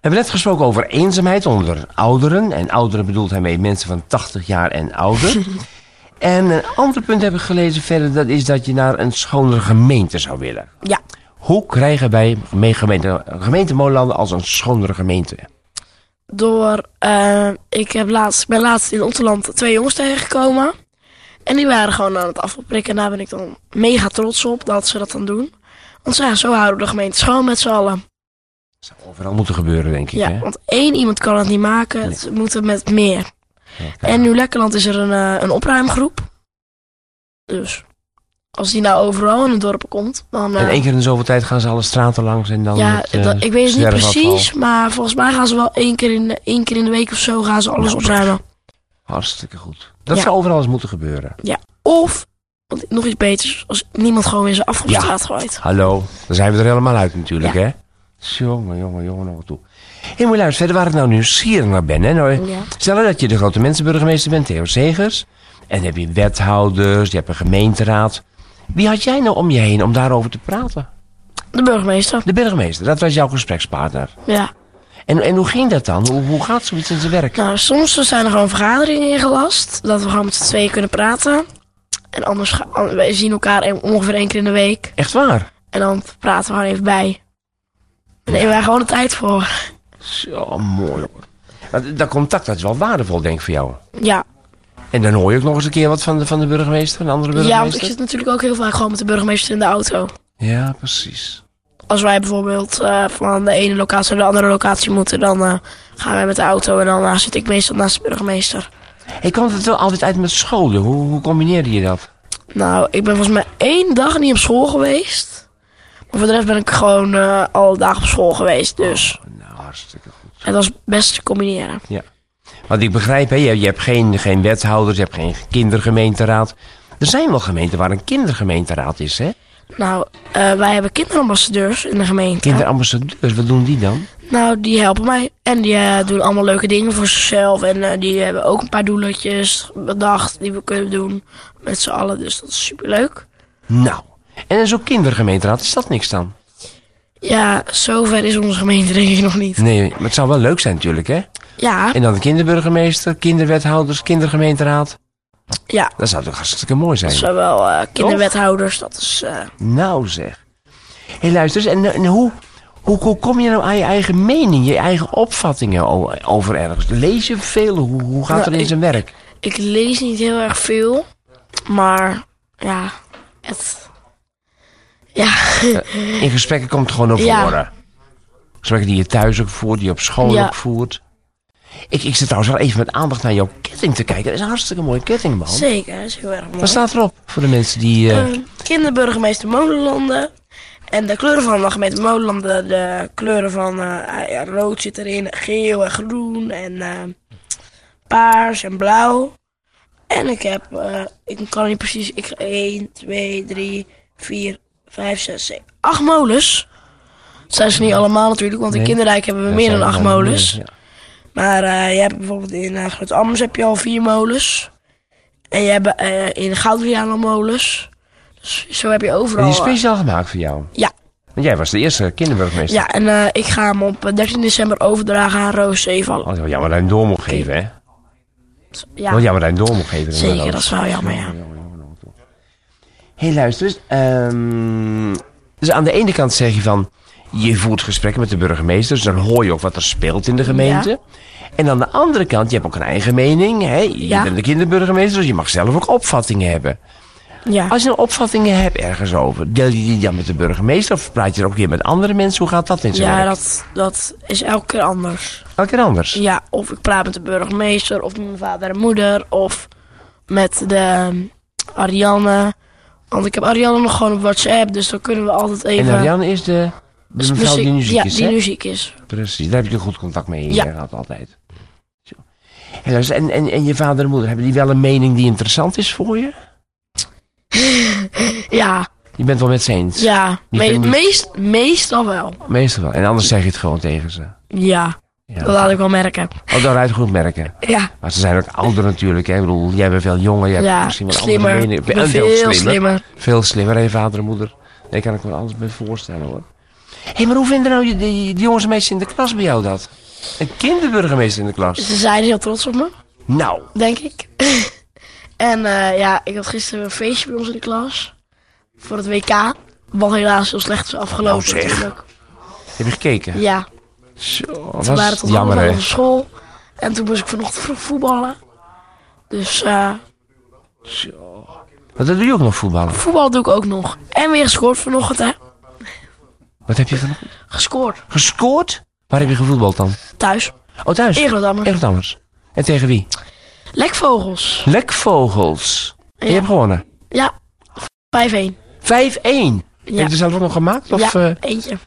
[SPEAKER 1] hebben net gesproken over eenzaamheid onder ouderen. En ouderen bedoelt hij mee mensen van 80 jaar en ouder. en een ander punt heb ik gelezen verder. Dat is dat je naar een schonere gemeente zou willen.
[SPEAKER 2] Ja.
[SPEAKER 1] Hoe krijgen wij mee- gemeente, gemeente Molenlanden als een schonere gemeente?
[SPEAKER 2] Door, eh, ik heb laatst, ik ben laatst in Otterland twee jongens tegengekomen. En die waren gewoon aan het afprikken. En daar ben ik dan mega trots op dat ze dat dan doen. Want ja, zo houden we de gemeente schoon met z'n allen.
[SPEAKER 1] Dat zou overal moeten gebeuren, denk ik.
[SPEAKER 2] Ja,
[SPEAKER 1] hè?
[SPEAKER 2] want één iemand kan het niet maken. Het moet er met meer. En nu Lekkerland is er een, eh, een opruimgroep. Dus als die nou overal in het dorp komt, dan... eh,
[SPEAKER 1] En één keer in de zoveel tijd gaan ze alle straten langs en dan.
[SPEAKER 2] ja,
[SPEAKER 1] met, eh,
[SPEAKER 2] dat- ik weet het niet
[SPEAKER 1] zwerfafval.
[SPEAKER 2] precies, maar volgens mij gaan ze wel één keer in de, één keer in de week of zo gaan ze alles
[SPEAKER 1] Ja.
[SPEAKER 2] opruimen.
[SPEAKER 1] Hartstikke goed. Dat
[SPEAKER 2] Ja.
[SPEAKER 1] zou overal eens moeten gebeuren.
[SPEAKER 2] Of, want nog iets beters, als niemand gewoon weer zijn afval op
[SPEAKER 1] Ja.
[SPEAKER 2] straat gooit.
[SPEAKER 1] Hallo, dan zijn we er helemaal uit natuurlijk, hè? Jongen, jongen, jongen, nog wat toe. Hé, hey, maar luister, verder waar ik nou nieuwsgierig naar ben, hè? Nou,
[SPEAKER 2] Ja.
[SPEAKER 1] Stel dat je de grote mensenburgemeester bent, Theo Segers. En dan heb je wethouders, je hebt een gemeenteraad. Wie had jij nou om je heen om daarover te praten?
[SPEAKER 2] De burgemeester,
[SPEAKER 1] De burgemeester, dat was jouw gesprekspartner.
[SPEAKER 2] ja.
[SPEAKER 1] En, en hoe ging dat dan? Hoe, hoe gaat zoiets in zijn werk?
[SPEAKER 2] Nou, soms zijn er gewoon vergaderingen ingelast. Dat we gewoon met z'n tweeën kunnen praten. En anders ga, an- wij zien elkaar een- ongeveer één keer in de week.
[SPEAKER 1] Echt waar?
[SPEAKER 2] En dan praten we gewoon even bij. Daar nemen wij gewoon de tijd voor.
[SPEAKER 1] Zo mooi hoor. Dat, dat contact dat is wel waardevol, denk ik, voor jou.
[SPEAKER 2] Ja.
[SPEAKER 1] En dan hoor je ook nog eens een keer wat van de, van de burgemeester, een andere
[SPEAKER 2] ja, want ik
[SPEAKER 1] burgemeester.
[SPEAKER 2] zit natuurlijk ook heel vaak gewoon met de burgemeester in de auto.
[SPEAKER 1] Ja, precies.
[SPEAKER 2] Als wij bijvoorbeeld eh, van de ene locatie naar de andere locatie moeten, dan eh, gaan wij met de auto. En dan eh, zit ik meestal naast de burgemeester.
[SPEAKER 1] Ik kwam het wel altijd uit met scholen. Hoe, hoe combineerde je dat?
[SPEAKER 2] Nou, ik ben volgens mij één dag niet op school geweest. Maar voor de rest ben ik gewoon eh, alle dagen op school geweest. Dus
[SPEAKER 1] Nou, hartstikke goed.
[SPEAKER 2] het was best te combineren.
[SPEAKER 1] Ja. Want ik begrijp, hè, je, je hebt geen, geen wethouders, je hebt geen kindergemeenteraad. Er zijn wel gemeenten waar een kindergemeenteraad is, hè?
[SPEAKER 2] Nou, eh, wij hebben kinderambassadeurs in de gemeente.
[SPEAKER 1] Kinderambassadeurs, wat doen die dan?
[SPEAKER 2] Nou, die helpen mij. En die eh, doen allemaal leuke dingen voor zichzelf. En eh, die hebben ook een paar doeletjes bedacht die we kunnen doen met z'n allen. Dus dat is superleuk.
[SPEAKER 1] Nou, en zo'n kindergemeenteraad, is dat niks dan?
[SPEAKER 2] Ja, zover is onze gemeente denk ik nog niet.
[SPEAKER 1] Nee, maar het zou wel leuk zijn natuurlijk, hè?
[SPEAKER 2] Ja,
[SPEAKER 1] En dan een kinderburgemeester, kinderwethouders, kindergemeenteraad.
[SPEAKER 2] ja.
[SPEAKER 1] Dat zou toch hartstikke mooi zijn?
[SPEAKER 2] Zowel eh kinderwethouders, dat is... eh,
[SPEAKER 1] Nou zeg. Hé, luister eens, en, en hoe, hoe, hoe kom je nou aan je eigen mening, je eigen opvattingen o- over ergens? Lees je veel? Hoe, hoe gaat
[SPEAKER 2] Nou,
[SPEAKER 1] er in
[SPEAKER 2] ik-
[SPEAKER 1] zijn werk?
[SPEAKER 2] ik lees niet heel erg veel. Maar, ja, het... Ja,
[SPEAKER 1] In gesprekken komt het gewoon op
[SPEAKER 2] Ja.
[SPEAKER 1] horen. Gesprekken die je thuis ook voert, die je op school
[SPEAKER 2] Ja.
[SPEAKER 1] ook voert. Ik, ik zit trouwens wel even met aandacht naar jouw ketting te kijken. Dat is een hartstikke mooie ketting, man.
[SPEAKER 2] zeker. Dat is heel erg mooi.
[SPEAKER 1] Wat staat erop voor de mensen die... eh,
[SPEAKER 2] Eh, kinderburgemeester Molenlanden. En de kleuren van de gemeente Molenlanden, de kleuren van eh, ja, rood zit erin, geel en groen en eh, paars en blauw. En ik heb, eh, ik kan niet precies, ik 1, 2, 3, 4, 5, 6, 7, 8 molens. Dat zijn ze niet allemaal natuurlijk, want
[SPEAKER 1] Nee.
[SPEAKER 2] in Kinderrijk hebben we
[SPEAKER 1] daar
[SPEAKER 2] meer
[SPEAKER 1] zijn
[SPEAKER 2] dan
[SPEAKER 1] er
[SPEAKER 2] acht
[SPEAKER 1] wel
[SPEAKER 2] molens.
[SPEAKER 1] meer, ja.
[SPEAKER 2] Maar eh, je hebt bijvoorbeeld in eh groot Amers heb je al vier molens. En je hebt eh, in Goudriaan al molens. Dus zo heb je
[SPEAKER 1] En
[SPEAKER 2] overal...
[SPEAKER 1] die is
[SPEAKER 2] eh,
[SPEAKER 1] speciaal gemaakt voor jou.
[SPEAKER 2] ja,
[SPEAKER 1] Want jij was de eerste kinderburgemeester.
[SPEAKER 2] ja, en eh, ik ga hem op eh, 13 december overdragen aan Roos Zeevallen.
[SPEAKER 1] Oh, jammer dat hij hem door mocht geven, hè?
[SPEAKER 2] Ja,
[SPEAKER 1] Wel jammer dat hij hem door mocht geven.
[SPEAKER 2] zeker,
[SPEAKER 1] Oh inderdaad.
[SPEAKER 2] dat is wel jammer, ja.
[SPEAKER 1] Hé, luister eens. ehm, dus aan de ene kant zeg je van... Je voert gesprekken met de burgemeester, dus dan hoor je ook wat er speelt in de gemeente. En aan de andere kant, je hebt ook een eigen mening. Hè? Je
[SPEAKER 2] Ja.
[SPEAKER 1] bent de kinderburgemeester, dus je mag zelf ook opvattingen hebben.
[SPEAKER 2] ja.
[SPEAKER 1] Als je nou opvattingen hebt ergens over, deel je die dan met de burgemeester of praat je er ook weer met andere mensen? Hoe gaat dat in zijn
[SPEAKER 2] Ja,
[SPEAKER 1] werk?
[SPEAKER 2] dat, dat is elke keer anders.
[SPEAKER 1] Elke keer anders.
[SPEAKER 2] Ja, of ik praat met de burgemeester, of met mijn vader en moeder, of met de eh, Ariane. Want ik heb Ariane nog gewoon op WhatsApp, dus dan kunnen we altijd even... Dus
[SPEAKER 1] En Ariane is de, de mevrouw die nu ziek
[SPEAKER 2] ja,
[SPEAKER 1] is,
[SPEAKER 2] die
[SPEAKER 1] hè?
[SPEAKER 2] nu ziek is.
[SPEAKER 1] Precies, daar heb je goed contact mee
[SPEAKER 2] Ja.
[SPEAKER 1] gehad altijd. Zo. En, luister, en, en, en je vader en moeder, hebben die wel een mening die interessant is voor je?
[SPEAKER 2] Ja,
[SPEAKER 1] Je bent wel met ze eens?
[SPEAKER 2] ja.
[SPEAKER 1] Die
[SPEAKER 2] Me-
[SPEAKER 1] vinden-
[SPEAKER 2] meest, meestal wel.
[SPEAKER 1] Meestal wel. En anders zeg je het gewoon tegen ze.
[SPEAKER 2] Ja,
[SPEAKER 1] Ja.
[SPEAKER 2] dat laat ik wel merken.
[SPEAKER 1] Oh, daaruit goed merken.
[SPEAKER 2] Ja,
[SPEAKER 1] Maar ze zijn ook ouder natuurlijk. Hè? Ik bedoel, jij bent veel jonger. Jij hebt
[SPEAKER 2] ja
[SPEAKER 1] misschien wel
[SPEAKER 2] slimmer.
[SPEAKER 1] andere
[SPEAKER 2] Ik
[SPEAKER 1] mening.
[SPEAKER 2] ben
[SPEAKER 1] En
[SPEAKER 2] veel slimmer.
[SPEAKER 1] Veel slimmer, hè, vader en moeder. Daar kan ik me alles bij voorstellen, hoor. Hé, maar hoe vinden nou die, die, die jongens en meisjes in de klas bij jou dat? Een kinderburgemeester in de klas.
[SPEAKER 2] Ze zijn heel trots op me,
[SPEAKER 1] Nou,
[SPEAKER 2] denk ik. (laughs) en eh, ja, ik had gisteren een feestje bij ons in de klas. Voor het WK. Wat helaas heel slecht is afgelopen
[SPEAKER 1] Nou zeg.
[SPEAKER 2] natuurlijk.
[SPEAKER 1] heb je gekeken?
[SPEAKER 2] Ja,
[SPEAKER 1] Zo,
[SPEAKER 2] we waren
[SPEAKER 1] was
[SPEAKER 2] tot
[SPEAKER 1] jammer,
[SPEAKER 2] half
[SPEAKER 1] hè?
[SPEAKER 2] op school. En toen moest ik vanochtend vroeg voetballen. Dus eh,
[SPEAKER 1] Want dat doe je ook nog voetballen.
[SPEAKER 2] voetbal doe ik ook nog. En weer gescoord vanochtend, hè.
[SPEAKER 1] Wat heb je van
[SPEAKER 2] Gescoord.
[SPEAKER 1] gescoord? Waar heb je gevoetbald dan?
[SPEAKER 2] Thuis.
[SPEAKER 1] Oh, thuis.
[SPEAKER 2] In Rotterdam.
[SPEAKER 1] Echt anders. En tegen wie?
[SPEAKER 2] Lekvogels.
[SPEAKER 1] Lekvogels. En je
[SPEAKER 2] Ja.
[SPEAKER 1] hebt gewonnen. 5-1.
[SPEAKER 2] Ja, 5-1.
[SPEAKER 1] Heb je
[SPEAKER 2] Ja,
[SPEAKER 1] er zelf ook nog gemaakt? Of,
[SPEAKER 2] ja
[SPEAKER 1] eh,
[SPEAKER 2] eentje.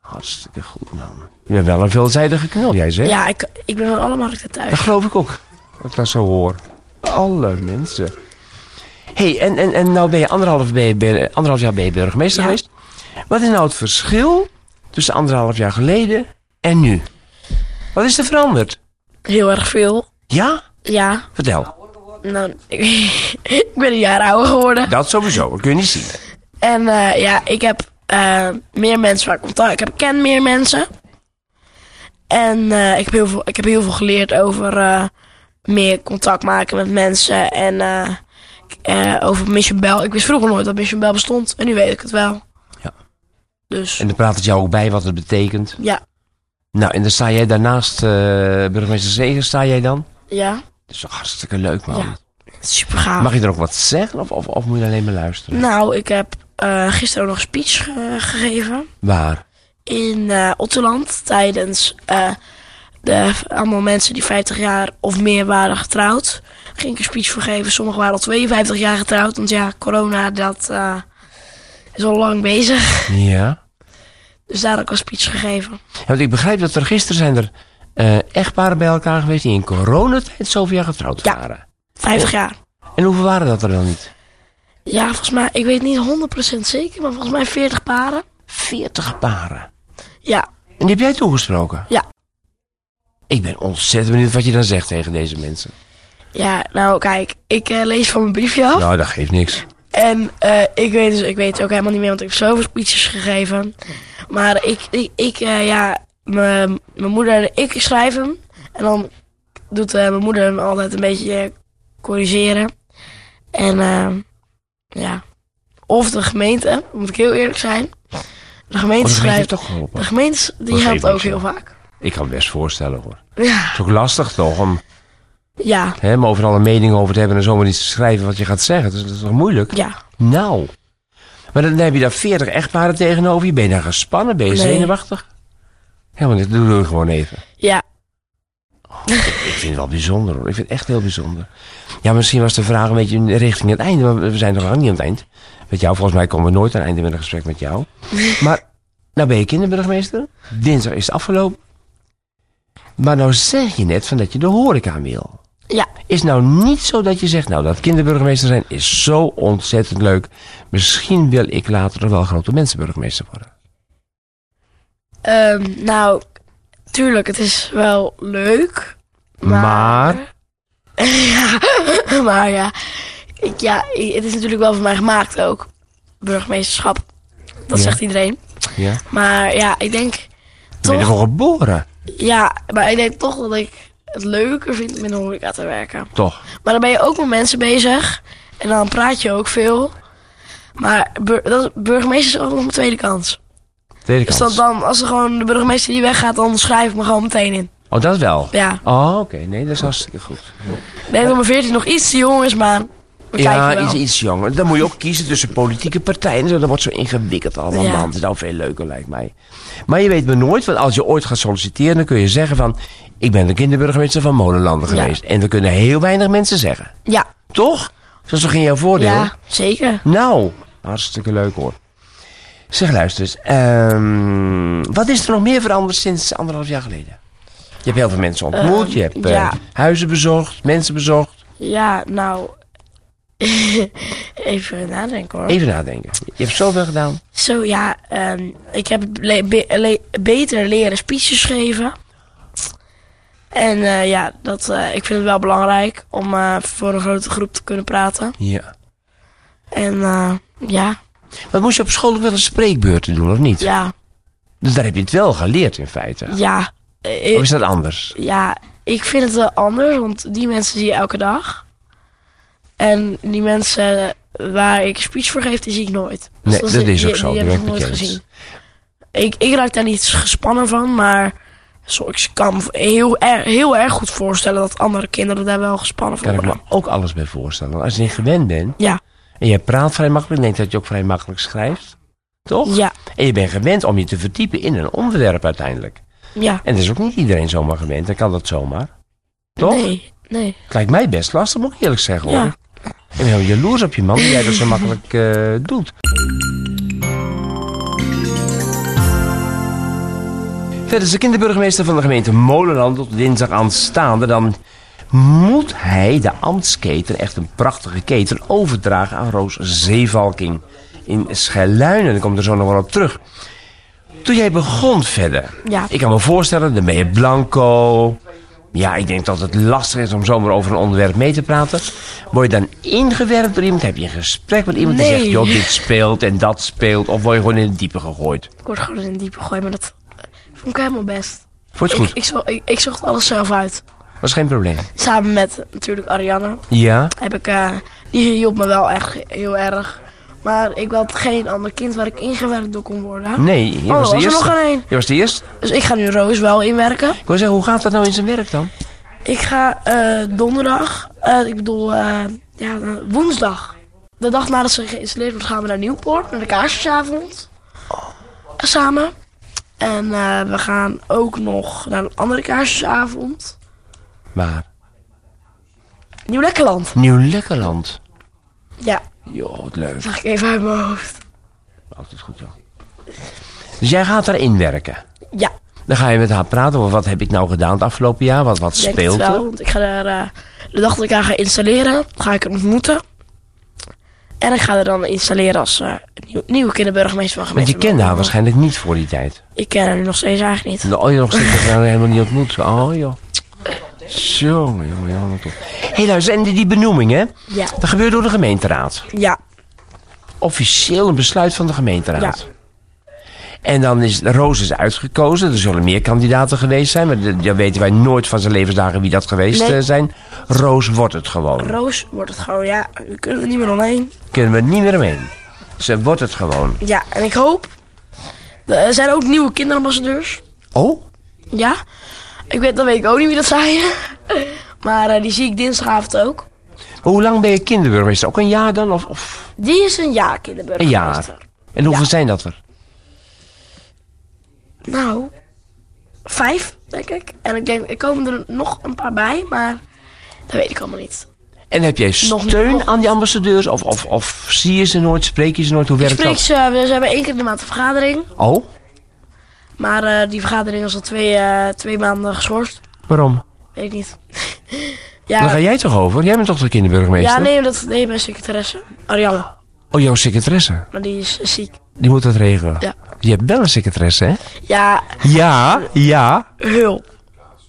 [SPEAKER 1] Hartstikke goed, man. Je bent wel een veelzijdige knul, jij zegt.
[SPEAKER 2] Ja, ik, ik ben van alle markten
[SPEAKER 1] Dat
[SPEAKER 2] thuis.
[SPEAKER 1] geloof ik ook. Als ik dat zo hoor. Alle mensen. hey, en, en, en nou ben je anderhalf, ben je, ben je- anderhalf jaar ben je burgemeester
[SPEAKER 2] Ja.
[SPEAKER 1] geweest. Wat is nou het verschil tussen anderhalf jaar geleden en nu? Wat is er veranderd?
[SPEAKER 2] Heel erg veel.
[SPEAKER 1] Ja?
[SPEAKER 2] Ja,
[SPEAKER 1] Vertel.
[SPEAKER 2] nou, (laughs) ik, ik ben een jaar ouder geworden.
[SPEAKER 1] Dat sowieso, dat kun je niet zien.
[SPEAKER 2] En eh, ja, ik heb eh, meer mensen waar ik contact... Ik heb, ken meer mensen. En eh, ik, heb heel veel, ik heb heel veel geleerd over eh, meer contact maken met mensen. En eh, k- eh, over Mission Bell. Ik wist vroeger nooit dat Mission Bell bestond. En nu weet ik het wel.
[SPEAKER 1] Ja.
[SPEAKER 2] Dus,
[SPEAKER 1] En dan praat het jou ook bij wat het betekent.
[SPEAKER 2] ja.
[SPEAKER 1] Nou, en dan sta jij daarnaast eh, burgemeester Zeger, sta jij dan?
[SPEAKER 2] Ja,
[SPEAKER 1] Dat is toch hartstikke leuk, man.
[SPEAKER 2] Ja. super gaaf.
[SPEAKER 1] Mag je er ook wat zeggen of, of, of moet je alleen maar luisteren?
[SPEAKER 2] Nou, ik heb eh, gisteren ook nog een speech eh, gegeven
[SPEAKER 1] Waar?
[SPEAKER 2] in eh Otterland tijdens eh, de, allemaal mensen die 50 jaar of meer waren getrouwd. Daar ging ik een speech voor geven. Sommigen waren al 52 jaar getrouwd. Want ja, corona, dat eh, is al lang bezig.
[SPEAKER 1] Ja.
[SPEAKER 2] Dus daar heb ik een speech gegeven.
[SPEAKER 1] Ja, Want ik begrijp dat er gisteren zijn er eh, echtparen bij elkaar geweest die in coronatijd zoveel jaar getrouwd
[SPEAKER 2] Ja.
[SPEAKER 1] waren.
[SPEAKER 2] 50 jaar.
[SPEAKER 1] En hoeveel waren dat er dan niet?
[SPEAKER 2] Ja, volgens mij, ik weet niet 100% zeker, maar volgens mij 40 paren.
[SPEAKER 1] 40 paren.
[SPEAKER 2] Ja,
[SPEAKER 1] En die heb jij toegesproken?
[SPEAKER 2] Ja.
[SPEAKER 1] Ik ben ontzettend benieuwd wat je dan zegt tegen deze mensen.
[SPEAKER 2] ja nou kijk, ik eh, lees van mijn briefje af.
[SPEAKER 1] Nou, dat geeft niks.
[SPEAKER 2] En eh, ik weet dus, ik weet het ook helemaal niet meer, want ik heb zoveel speeches gegeven. Maar ik, ik, ik eh, ja, mijn mijn moeder en ik schrijf hem. En dan doet eh, mijn moeder hem altijd een beetje eh, corrigeren. En ehm, ja, of de gemeente, moet ik heel eerlijk zijn. De
[SPEAKER 1] Oh,
[SPEAKER 2] gemeente
[SPEAKER 1] dat heeft je
[SPEAKER 2] schrijft,
[SPEAKER 1] toch
[SPEAKER 2] de
[SPEAKER 1] geholpen?
[SPEAKER 2] gemeente die
[SPEAKER 1] Dat
[SPEAKER 2] helpt
[SPEAKER 1] geeft
[SPEAKER 2] ook
[SPEAKER 1] niks,
[SPEAKER 2] heel
[SPEAKER 1] joh.
[SPEAKER 2] vaak.
[SPEAKER 1] Ik kan het best voorstellen hoor. Het
[SPEAKER 2] Ja,
[SPEAKER 1] is ook lastig toch om,
[SPEAKER 2] ja,
[SPEAKER 1] hè, om overal een mening over te hebben en zomaar iets te schrijven wat je gaat zeggen. Dat is, dat is toch moeilijk?
[SPEAKER 2] ja.
[SPEAKER 1] Nou. Maar dan heb je daar 40 echtparen tegenover je. Ben je daar gespannen? Ben je
[SPEAKER 2] Nee.
[SPEAKER 1] zenuwachtig? Helemaal niet. Doe het gewoon even.
[SPEAKER 2] Ja,
[SPEAKER 1] Ik vind het wel bijzonder hoor. Ik vind het echt heel bijzonder. Ja, misschien was de vraag een beetje richting het einde. Maar we zijn nog lang niet aan het eind. Met jou, volgens mij komen we nooit aan het einde met een gesprek met
[SPEAKER 2] (laughs)
[SPEAKER 1] jou. Maar, nou ben je kinderburgemeester. Dinsdag is het afgelopen. Maar nou zeg je net van dat je de horeca wil.
[SPEAKER 2] ja,
[SPEAKER 1] Is nou niet zo dat je zegt, nou dat kinderburgemeester zijn is zo ontzettend leuk. Misschien wil ik later nog wel grote mensenburgemeester worden.
[SPEAKER 2] Ehm, nou, tuurlijk, het is wel leuk.
[SPEAKER 1] Maar?
[SPEAKER 2] (laughs) ja, (laughs) maar ja. Ik, ja, i- het is natuurlijk wel voor mij gemaakt ook. Burgemeesterschap. Dat
[SPEAKER 1] Ja.
[SPEAKER 2] zegt iedereen.
[SPEAKER 1] Ja.
[SPEAKER 2] Maar ja, ik denk
[SPEAKER 1] Je bent
[SPEAKER 2] toch...
[SPEAKER 1] ervoor geboren,
[SPEAKER 2] Ja, maar ik denk toch dat ik het leuker vind om in de horeca te werken.
[SPEAKER 1] toch?
[SPEAKER 2] Maar dan ben je ook met mensen bezig. En dan praat je ook veel. Maar bur- dat, burgemeester is ook nog mijn tweede kans.
[SPEAKER 1] Tweede
[SPEAKER 2] Dus
[SPEAKER 1] kans.
[SPEAKER 2] dat dan, als er gewoon de burgemeester die weggaat, dan schrijf ik me gewoon meteen in.
[SPEAKER 1] Oh, dat wel?
[SPEAKER 2] Ja.
[SPEAKER 1] Oh, oké. Nee, dat is hartstikke goed.
[SPEAKER 2] Ik denk dat mijn 14 nog iets te jong is, maar we
[SPEAKER 1] Ja,
[SPEAKER 2] kijken wel.
[SPEAKER 1] iets, iets jonger. Dan moet je ook kiezen tussen politieke partijen. en zo. Dat wordt zo ingewikkeld allemaal.
[SPEAKER 2] Ja.
[SPEAKER 1] Man. Het is nou veel leuker, lijkt mij. Maar je weet maar nooit, want als je ooit gaat solliciteren... dan kun je zeggen van... ik ben de kinderburgemeester van Molenlanden
[SPEAKER 2] Ja.
[SPEAKER 1] geweest. En dat kunnen heel weinig mensen zeggen.
[SPEAKER 2] Ja,
[SPEAKER 1] Toch? Dat is toch in jouw voordeel?
[SPEAKER 2] ja, zeker.
[SPEAKER 1] Nou, hartstikke leuk hoor. Zeg, luister eens. ehm, wat is er nog meer veranderd sinds anderhalf jaar geleden? Je hebt heel veel mensen ontmoet.
[SPEAKER 2] Ehm,
[SPEAKER 1] je hebt eh,
[SPEAKER 2] ja.
[SPEAKER 1] huizen bezocht, mensen bezocht.
[SPEAKER 2] Ja, nou... (laughs) Even nadenken hoor.
[SPEAKER 1] Oh. Even nadenken. Je hebt zoveel gedaan.
[SPEAKER 2] Zo ja, ehm, ik heb le- be- le- beter leren speeches geven. En eh, ja, dat, eh, ik vind het wel belangrijk om eh, voor een grote groep te kunnen praten.
[SPEAKER 1] Ja.
[SPEAKER 2] En eh, ja,
[SPEAKER 1] Wat moest je op school ook wel een spreekbeurten doen, of niet?
[SPEAKER 2] ja,
[SPEAKER 1] Dus daar heb je het wel geleerd in feite.
[SPEAKER 2] ja. Eh,
[SPEAKER 1] Of is dat anders?
[SPEAKER 2] Ja, ik vind het wel anders, want die mensen zie je elke dag. En die mensen waar ik speech voor geef, die zie ik nooit.
[SPEAKER 1] Nee,
[SPEAKER 2] Dus
[SPEAKER 1] dat is
[SPEAKER 2] die-
[SPEAKER 1] ook zo.
[SPEAKER 2] Die,
[SPEAKER 1] Dat
[SPEAKER 2] heb
[SPEAKER 1] ben
[SPEAKER 2] ik
[SPEAKER 1] ik met
[SPEAKER 2] nooit
[SPEAKER 1] je eens.
[SPEAKER 2] gezien. Ik, ik raak daar niet gespannen van, maar zo, ik kan me heel, erg- heel erg goed voorstellen dat andere kinderen daar wel gespannen van
[SPEAKER 1] Kan ik me
[SPEAKER 2] worden.
[SPEAKER 1] ook alles bij voorstellen. Want Als je niet gewend bent
[SPEAKER 2] Ja,
[SPEAKER 1] en je praat vrij makkelijk, denk ik dat je ook vrij makkelijk schrijft. Toch?
[SPEAKER 2] ja,
[SPEAKER 1] En je bent gewend om je te verdiepen in een onderwerp uiteindelijk.
[SPEAKER 2] ja.
[SPEAKER 1] En dat is ook niet iedereen zomaar gewend. Dan kan dat zomaar. Toch?
[SPEAKER 2] Nee, nee.
[SPEAKER 1] Het lijkt mij best lastig, moet ik eerlijk zeggen hoor.
[SPEAKER 2] Ja.
[SPEAKER 1] Ik ben heel jaloers op je man die jij dat zo makkelijk eh, doet. Verder is de kinderburgemeester van de gemeente Molenland tot dinsdag aanstaande. Dan moet hij de ambtsketen, echt een prachtige keten, overdragen aan Roos Zeevalking in Schelluinen. Daar komt er zo nog wel op terug. Toen jij begon verder,
[SPEAKER 2] Ja.
[SPEAKER 1] ik kan me voorstellen, dan ben je blanco. Ja, ik denk dat het lastig is om zomaar over een onderwerp mee te praten. Word je dan ingewerkt door iemand? Heb je een gesprek met iemand die
[SPEAKER 2] Nee.
[SPEAKER 1] zegt, joh, dit speelt en dat speelt? Of word je gewoon in het diepe gegooid?
[SPEAKER 2] Ik word gewoon in het diepe gegooid, maar dat eh, vond ik helemaal best.
[SPEAKER 1] Vond je het
[SPEAKER 2] Ik,
[SPEAKER 1] goed?
[SPEAKER 2] ik, zo- ik, ik zocht alles zelf uit.
[SPEAKER 1] Was geen probleem.
[SPEAKER 2] Samen met eh, natuurlijk Ariane.
[SPEAKER 1] Ja?
[SPEAKER 2] heb ik, eh, die hielp me wel echt heel erg. Maar ik had geen ander kind waar ik ingewerkt door kon worden.
[SPEAKER 1] Nee, je was de
[SPEAKER 2] oh, er was er
[SPEAKER 1] eerste.
[SPEAKER 2] nog geen één.
[SPEAKER 1] Je was de eerste.
[SPEAKER 2] Dus ik ga nu Roos wel inwerken.
[SPEAKER 1] Ik wil zeggen, hoe gaat dat nou in zijn werk dan?
[SPEAKER 2] Ik ga eh, donderdag, eh, ik bedoel eh, ja, eh, woensdag, de dag nadat ze geïnstalleerd wordt, gaan we naar Nieuwpoort, naar de kaarsjesavond. Samen. En eh, we gaan ook nog naar een andere kaarsjesavond.
[SPEAKER 1] Maar
[SPEAKER 2] Nieuw Lekkerland.
[SPEAKER 1] Nieuw Lekkerland.
[SPEAKER 2] Ja,
[SPEAKER 1] Joh, wat leuk.
[SPEAKER 2] zag ik even uit mijn hoofd.
[SPEAKER 1] Altijd goed, joh. Dus jij gaat daarin werken.
[SPEAKER 2] Ja,
[SPEAKER 1] Dan ga je met haar praten over wat heb ik nou gedaan het afgelopen jaar? Wat, wat
[SPEAKER 2] denk het
[SPEAKER 1] speelt
[SPEAKER 2] wel.
[SPEAKER 1] er?
[SPEAKER 2] Want ik ga daar, eh, de dag dat ik haar ga installeren, ga ik haar ontmoeten. En ik ga haar dan installeren als eh, nieuw, nieuwe kinderburgemeester van
[SPEAKER 1] Want
[SPEAKER 2] gemeente.
[SPEAKER 1] je kende haar waarschijnlijk niet voor die tijd.
[SPEAKER 2] Ik ken haar nu nog steeds eigenlijk niet.
[SPEAKER 1] Oh, je nog steeds haar helemaal niet ontmoet. Oh, joh. Jongen, jongen, jongen. wat tof. Hé, luister, en die, die benoeming, hè?
[SPEAKER 2] Ja,
[SPEAKER 1] Dat gebeurt door de gemeenteraad.
[SPEAKER 2] ja,
[SPEAKER 1] Officieel een besluit van de gemeenteraad.
[SPEAKER 2] Ja.
[SPEAKER 1] En dan is Roos is uitgekozen. Er zullen meer kandidaten geweest zijn. Maar de- dan weten wij nooit van zijn levensdagen wie dat geweest
[SPEAKER 2] Nee.
[SPEAKER 1] eh, zijn. Roos wordt het gewoon.
[SPEAKER 2] Roos wordt het gewoon, ja, we kunnen er niet meer omheen.
[SPEAKER 1] Kunnen we niet meer omheen. Ze wordt het gewoon.
[SPEAKER 2] Ja, en ik hoop. Er zijn ook nieuwe kinderambassadeurs.
[SPEAKER 1] Oh?
[SPEAKER 2] Ja. Ik weet, dan weet ik ook niet wie dat zijn. (laughs) maar eh, die zie ik dinsdagavond ook.
[SPEAKER 1] Hoe lang ben je kinderburgemeester? Ook een jaar dan? Of, of...
[SPEAKER 2] Die is een jaar kinderburgemeester.
[SPEAKER 1] En hoeveel
[SPEAKER 2] Ja.
[SPEAKER 1] zijn dat er?
[SPEAKER 2] Nou, vijf, denk ik. En ik denk, er komen er nog een paar bij, maar dat weet ik allemaal niet.
[SPEAKER 1] En heb jij
[SPEAKER 2] Nog niet,
[SPEAKER 1] steun
[SPEAKER 2] nog
[SPEAKER 1] aan die ambassadeurs? Of, of, of zie je ze nooit? Spreek je ze nooit? Hoe
[SPEAKER 2] Ik
[SPEAKER 1] werkt
[SPEAKER 2] spreek ze, we ze hebben één keer in de maand een vergadering.
[SPEAKER 1] dat? Oh,
[SPEAKER 2] Maar eh, die vergadering is al twee, eh, twee maanden geschorst.
[SPEAKER 1] waarom?
[SPEAKER 2] Weet ik niet. (laughs)
[SPEAKER 1] Daar ga
[SPEAKER 2] ja,
[SPEAKER 1] jij toch over? Jij bent toch de kinderburgemeester?
[SPEAKER 2] ja, nee, dat nee, mijn secretaresse. Ariane,
[SPEAKER 1] Oh, jouw secretaresse.
[SPEAKER 2] maar die is ziek.
[SPEAKER 1] Die moet dat regelen.
[SPEAKER 2] Ja.
[SPEAKER 1] Je hebt wel een secretaresse, hè?
[SPEAKER 2] Ja,
[SPEAKER 1] Ja, ja.
[SPEAKER 2] hul.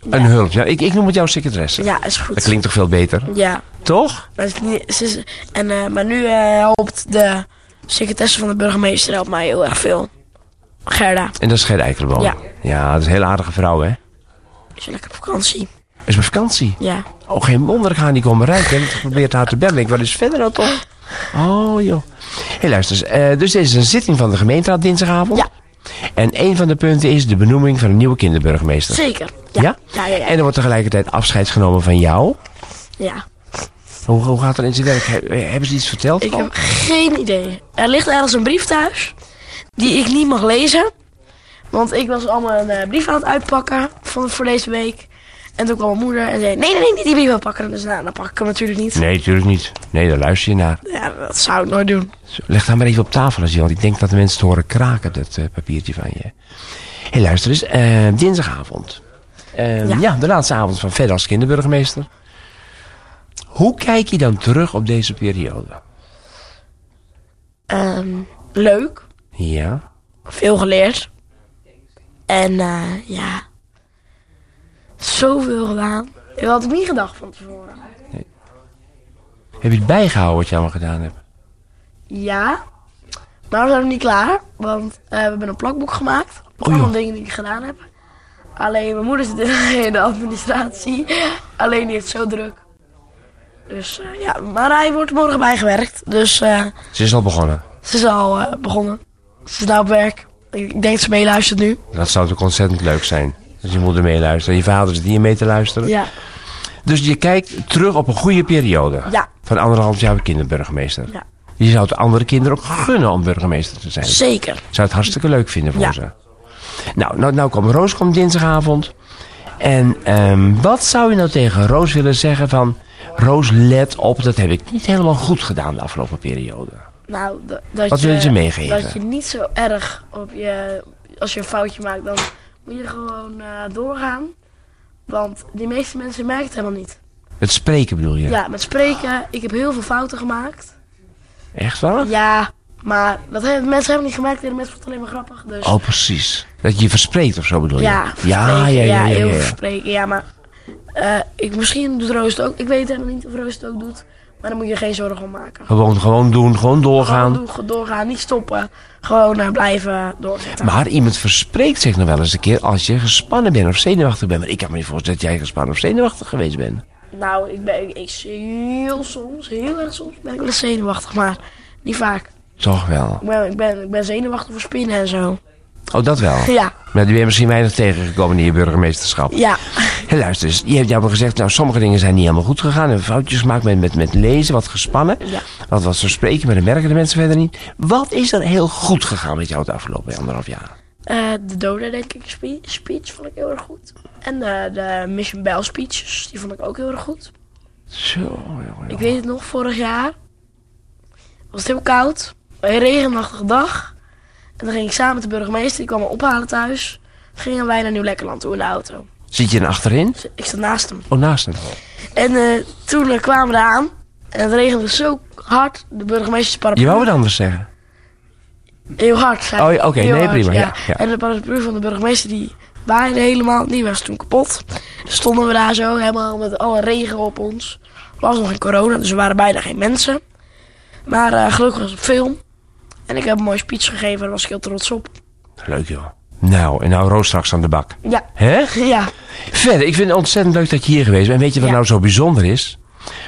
[SPEAKER 1] Een hulp. Ja, ik, ik noem het jouw secretaresse.
[SPEAKER 2] Ja, is goed.
[SPEAKER 1] Dat klinkt toch veel beter?
[SPEAKER 2] Ja.
[SPEAKER 1] Toch?
[SPEAKER 2] Maar, het is niet- ze is- en, eh, maar nu eh, helpt de secretaresse van de burgemeester helpt mij heel erg veel. Gerda,
[SPEAKER 1] En dat is Gert Eikelboom.
[SPEAKER 2] Ja.
[SPEAKER 1] ja, dat is een hele aardige vrouw, hè?
[SPEAKER 2] is lekker op vakantie.
[SPEAKER 1] Is mijn vakantie.
[SPEAKER 2] Ja.
[SPEAKER 1] Oh, geen wonder, ik ga niet komen rijden. Ik heb geprobeerd haar te bellen. Ik wil eens verder dan toch? Oh, joh. Hé, luister eens. eh, dus dit is een zitting van de gemeenteraad dinsdagavond.
[SPEAKER 2] Ja.
[SPEAKER 1] En een van de punten is de benoeming van een nieuwe kinderburgemeester.
[SPEAKER 2] Zeker.
[SPEAKER 1] Ja?
[SPEAKER 2] Ja? Ja, ja, ja.
[SPEAKER 1] En er wordt tegelijkertijd afscheid genomen van jou.
[SPEAKER 2] Ja.
[SPEAKER 1] Hoe, hoe gaat dat in zijn werk? He- hebben ze iets verteld?
[SPEAKER 2] Ik
[SPEAKER 1] al?
[SPEAKER 2] heb geen idee. Er ligt ergens een brief thuis die ik niet mag lezen. Want ik was allemaal een eh, brief aan het uitpakken van, voor deze week. En toen kwam mijn moeder en zei, nee, nee, nee, niet die brief uitpakken. Dus nou, dan pak ik hem natuurlijk niet.
[SPEAKER 1] Nee, natuurlijk niet. Nee, daar luister je naar.
[SPEAKER 2] Ja, dat zou ik nooit doen.
[SPEAKER 1] Zo, Leg daar maar even op tafel als je want ik denk dat de mensen het horen kraken, dat eh, papiertje van je. Hé, luister eens, eh, dinsdagavond. Eh, ja.
[SPEAKER 2] Ja.
[SPEAKER 1] de laatste avond van verder als kinderburgemeester. Hoe kijk je dan terug op deze periode?
[SPEAKER 2] Ehm, leuk.
[SPEAKER 1] Ja,
[SPEAKER 2] veel geleerd. En eh, ja, zoveel gedaan. Dat had ik niet gedacht van tevoren.
[SPEAKER 1] heb je het bijgehouden wat je allemaal gedaan hebt?
[SPEAKER 2] Ja, maar we zijn nog niet klaar. Want eh, we hebben een plakboek gemaakt.
[SPEAKER 1] joh.
[SPEAKER 2] Allemaal dingen die ik gedaan heb. Alleen mijn moeder zit in de (laughs) administratie. Alleen die heeft zo druk. Dus eh, ja, maar hij wordt morgen bijgewerkt. Dus eh,
[SPEAKER 1] Ze is al begonnen.
[SPEAKER 2] ze is al eh, begonnen. Ze is nou op werk. Ik ik denk dat ze meeluistert nu.
[SPEAKER 1] Dat zou natuurlijk ontzettend leuk zijn. Als je moeder meeluistert, je vader zit hier mee te luisteren.
[SPEAKER 2] Ja,
[SPEAKER 1] Dus je kijkt terug op een goede periode.
[SPEAKER 2] Ja.
[SPEAKER 1] Van anderhalf jaar kinderburgemeester.
[SPEAKER 2] Ja.
[SPEAKER 1] Je zou het andere kinderen ook gunnen om burgemeester te zijn.
[SPEAKER 2] zeker.
[SPEAKER 1] zou het hartstikke leuk vinden voor
[SPEAKER 2] Ja.
[SPEAKER 1] ze. Nou, nou, nou komt Roos komt dinsdagavond. En ehm, wat zou je nou tegen Roos willen zeggen van... Roos, let op, dat heb ik niet helemaal goed gedaan de afgelopen periode.
[SPEAKER 2] Nou, d- dat
[SPEAKER 1] Wat
[SPEAKER 2] je,
[SPEAKER 1] willen ze meegeven?
[SPEAKER 2] Dat je niet zo erg op je... Als je een foutje maakt, dan moet je gewoon eh, doorgaan. Want die meeste mensen merken het helemaal niet.
[SPEAKER 1] Het spreken bedoel je?
[SPEAKER 2] Ja. met spreken. Ik heb heel veel fouten gemaakt.
[SPEAKER 1] Echt waar?
[SPEAKER 2] Ja, maar dat hebben mensen helemaal niet gemerkt. En de mensen vonden het alleen maar grappig. Dus
[SPEAKER 1] Oh, precies. Dat je je verspreekt of zo bedoel je?
[SPEAKER 2] ja,
[SPEAKER 1] ja, ja,
[SPEAKER 2] verspreken,
[SPEAKER 1] ja. ja,
[SPEAKER 2] heel veel
[SPEAKER 1] ja.
[SPEAKER 2] spreken. Ja, maar eh, ik, misschien doet Roos het ook. Ik weet helemaal niet of Roos het ook doet. Maar daar moet je geen zorgen om maken.
[SPEAKER 1] Gewoon, gewoon doen, gewoon doorgaan.
[SPEAKER 2] Gewoon doen, doorgaan, niet stoppen. Gewoon eh, blijven doorzetten.
[SPEAKER 1] Maar iemand verspreekt zich nog wel eens een keer als je gespannen bent of zenuwachtig bent. Maar ik kan me niet voorstellen dat jij gespannen of zenuwachtig geweest bent.
[SPEAKER 2] Nou, ik ben ik, ik zie heel soms, heel erg soms, ben ik wel eens zenuwachtig, maar niet vaak.
[SPEAKER 1] Toch wel.
[SPEAKER 2] Ik ben, ik ben, ik ben zenuwachtig voor spinnen en zo. (laughs)
[SPEAKER 1] Oh, dat wel.
[SPEAKER 2] Ja,
[SPEAKER 1] Maar die ben je misschien weinig tegengekomen in je burgemeesterschap.
[SPEAKER 2] ja,
[SPEAKER 1] Hé, luister eens. Je hebt jou gezegd, nou, sommige dingen zijn niet helemaal goed gegaan. En foutjes gemaakt met, met, met lezen, wat gespannen.
[SPEAKER 2] Ja.
[SPEAKER 1] Wat, wat zo spreken, maar dat merken de mensen verder niet. Wat is er heel goed gegaan met jou het afgelopen anderhalf jaar?
[SPEAKER 2] Eh, de Doda, denk ik, spe- speech vond ik heel erg goed. En de, de Mission Bell speeches, die vond ik ook heel erg goed.
[SPEAKER 1] Zo, jongen.
[SPEAKER 2] Ik weet het nog, vorig jaar was het heel koud. Een regenachtige dag. En dan ging ik samen met de burgemeester, die kwam me ophalen thuis. Gingen wij naar Nieuw-Lekkerland toe in de auto.
[SPEAKER 1] Zit je er achterin?
[SPEAKER 2] Dus ik zat naast hem.
[SPEAKER 1] Oh, naast hem.
[SPEAKER 2] En eh, toen eh, kwamen we eraan. En het regende zo hard. De burgemeester paraplu.
[SPEAKER 1] Je wou wat anders zeggen.
[SPEAKER 2] Heel hard. zei
[SPEAKER 1] Oh,
[SPEAKER 2] hij.
[SPEAKER 1] ja, oké,
[SPEAKER 2] Heel
[SPEAKER 1] nee,
[SPEAKER 2] hard,
[SPEAKER 1] prima, ja, ja.
[SPEAKER 2] En de paraplu van de burgemeester die waaide helemaal. Die was toen kapot. Dus stonden we daar zo helemaal met alle regen op ons. Er was nog geen corona, dus er waren bijna geen mensen. Maar eh, gelukkig was het op film. En ik heb een mooie speech gegeven. Daar was ik heel trots op.
[SPEAKER 1] Leuk, joh. Nou, en nou Roos straks aan de bak.
[SPEAKER 2] Ja.
[SPEAKER 1] Hè?
[SPEAKER 2] (laughs) Ja.
[SPEAKER 1] Verder, ik vind het ontzettend leuk dat je hier geweest bent. En weet je wat
[SPEAKER 2] Ja.
[SPEAKER 1] nou zo bijzonder is?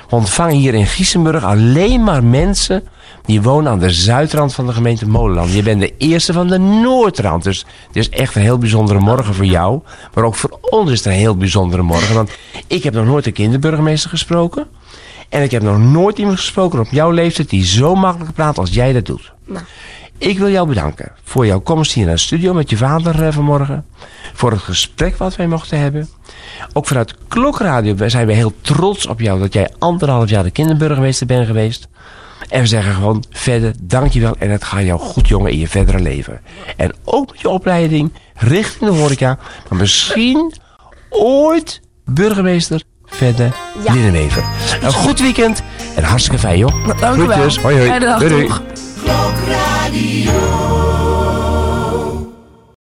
[SPEAKER 1] We ontvangen hier in Giesenburg alleen maar mensen die wonen aan de zuidrand van de gemeente Molenland. Je bent de eerste van de noordrand. Dus het is echt een heel bijzondere morgen voor jou. Maar ook voor ons is het een heel bijzondere morgen. Want ik heb nog nooit een kinderburgemeester gesproken. En ik heb nog nooit iemand gesproken op jouw leeftijd die zo makkelijk praat als jij dat doet.
[SPEAKER 2] Nou,
[SPEAKER 1] Ik wil jou bedanken voor jouw komst hier naar de studio met je vader eh, vanmorgen. Voor het gesprek wat wij mochten hebben. Ook vanuit Klokradio zijn we heel trots op jou dat jij anderhalf jaar de kinderburgemeester bent geweest. En we zeggen gewoon verder dankjewel en het gaat jou goed jongen in je verdere leven. En ook met je opleiding richting de horeca. Maar misschien ooit burgemeester verder
[SPEAKER 2] Ja.
[SPEAKER 1] Linnenwever. Een goed weekend en hartstikke fijn joh.
[SPEAKER 2] nou, dank u wel.
[SPEAKER 1] Groetjes. Hoi hoi.
[SPEAKER 2] Fijne dag,
[SPEAKER 1] Doei, doei.
[SPEAKER 2] toch?
[SPEAKER 3] Klokradio.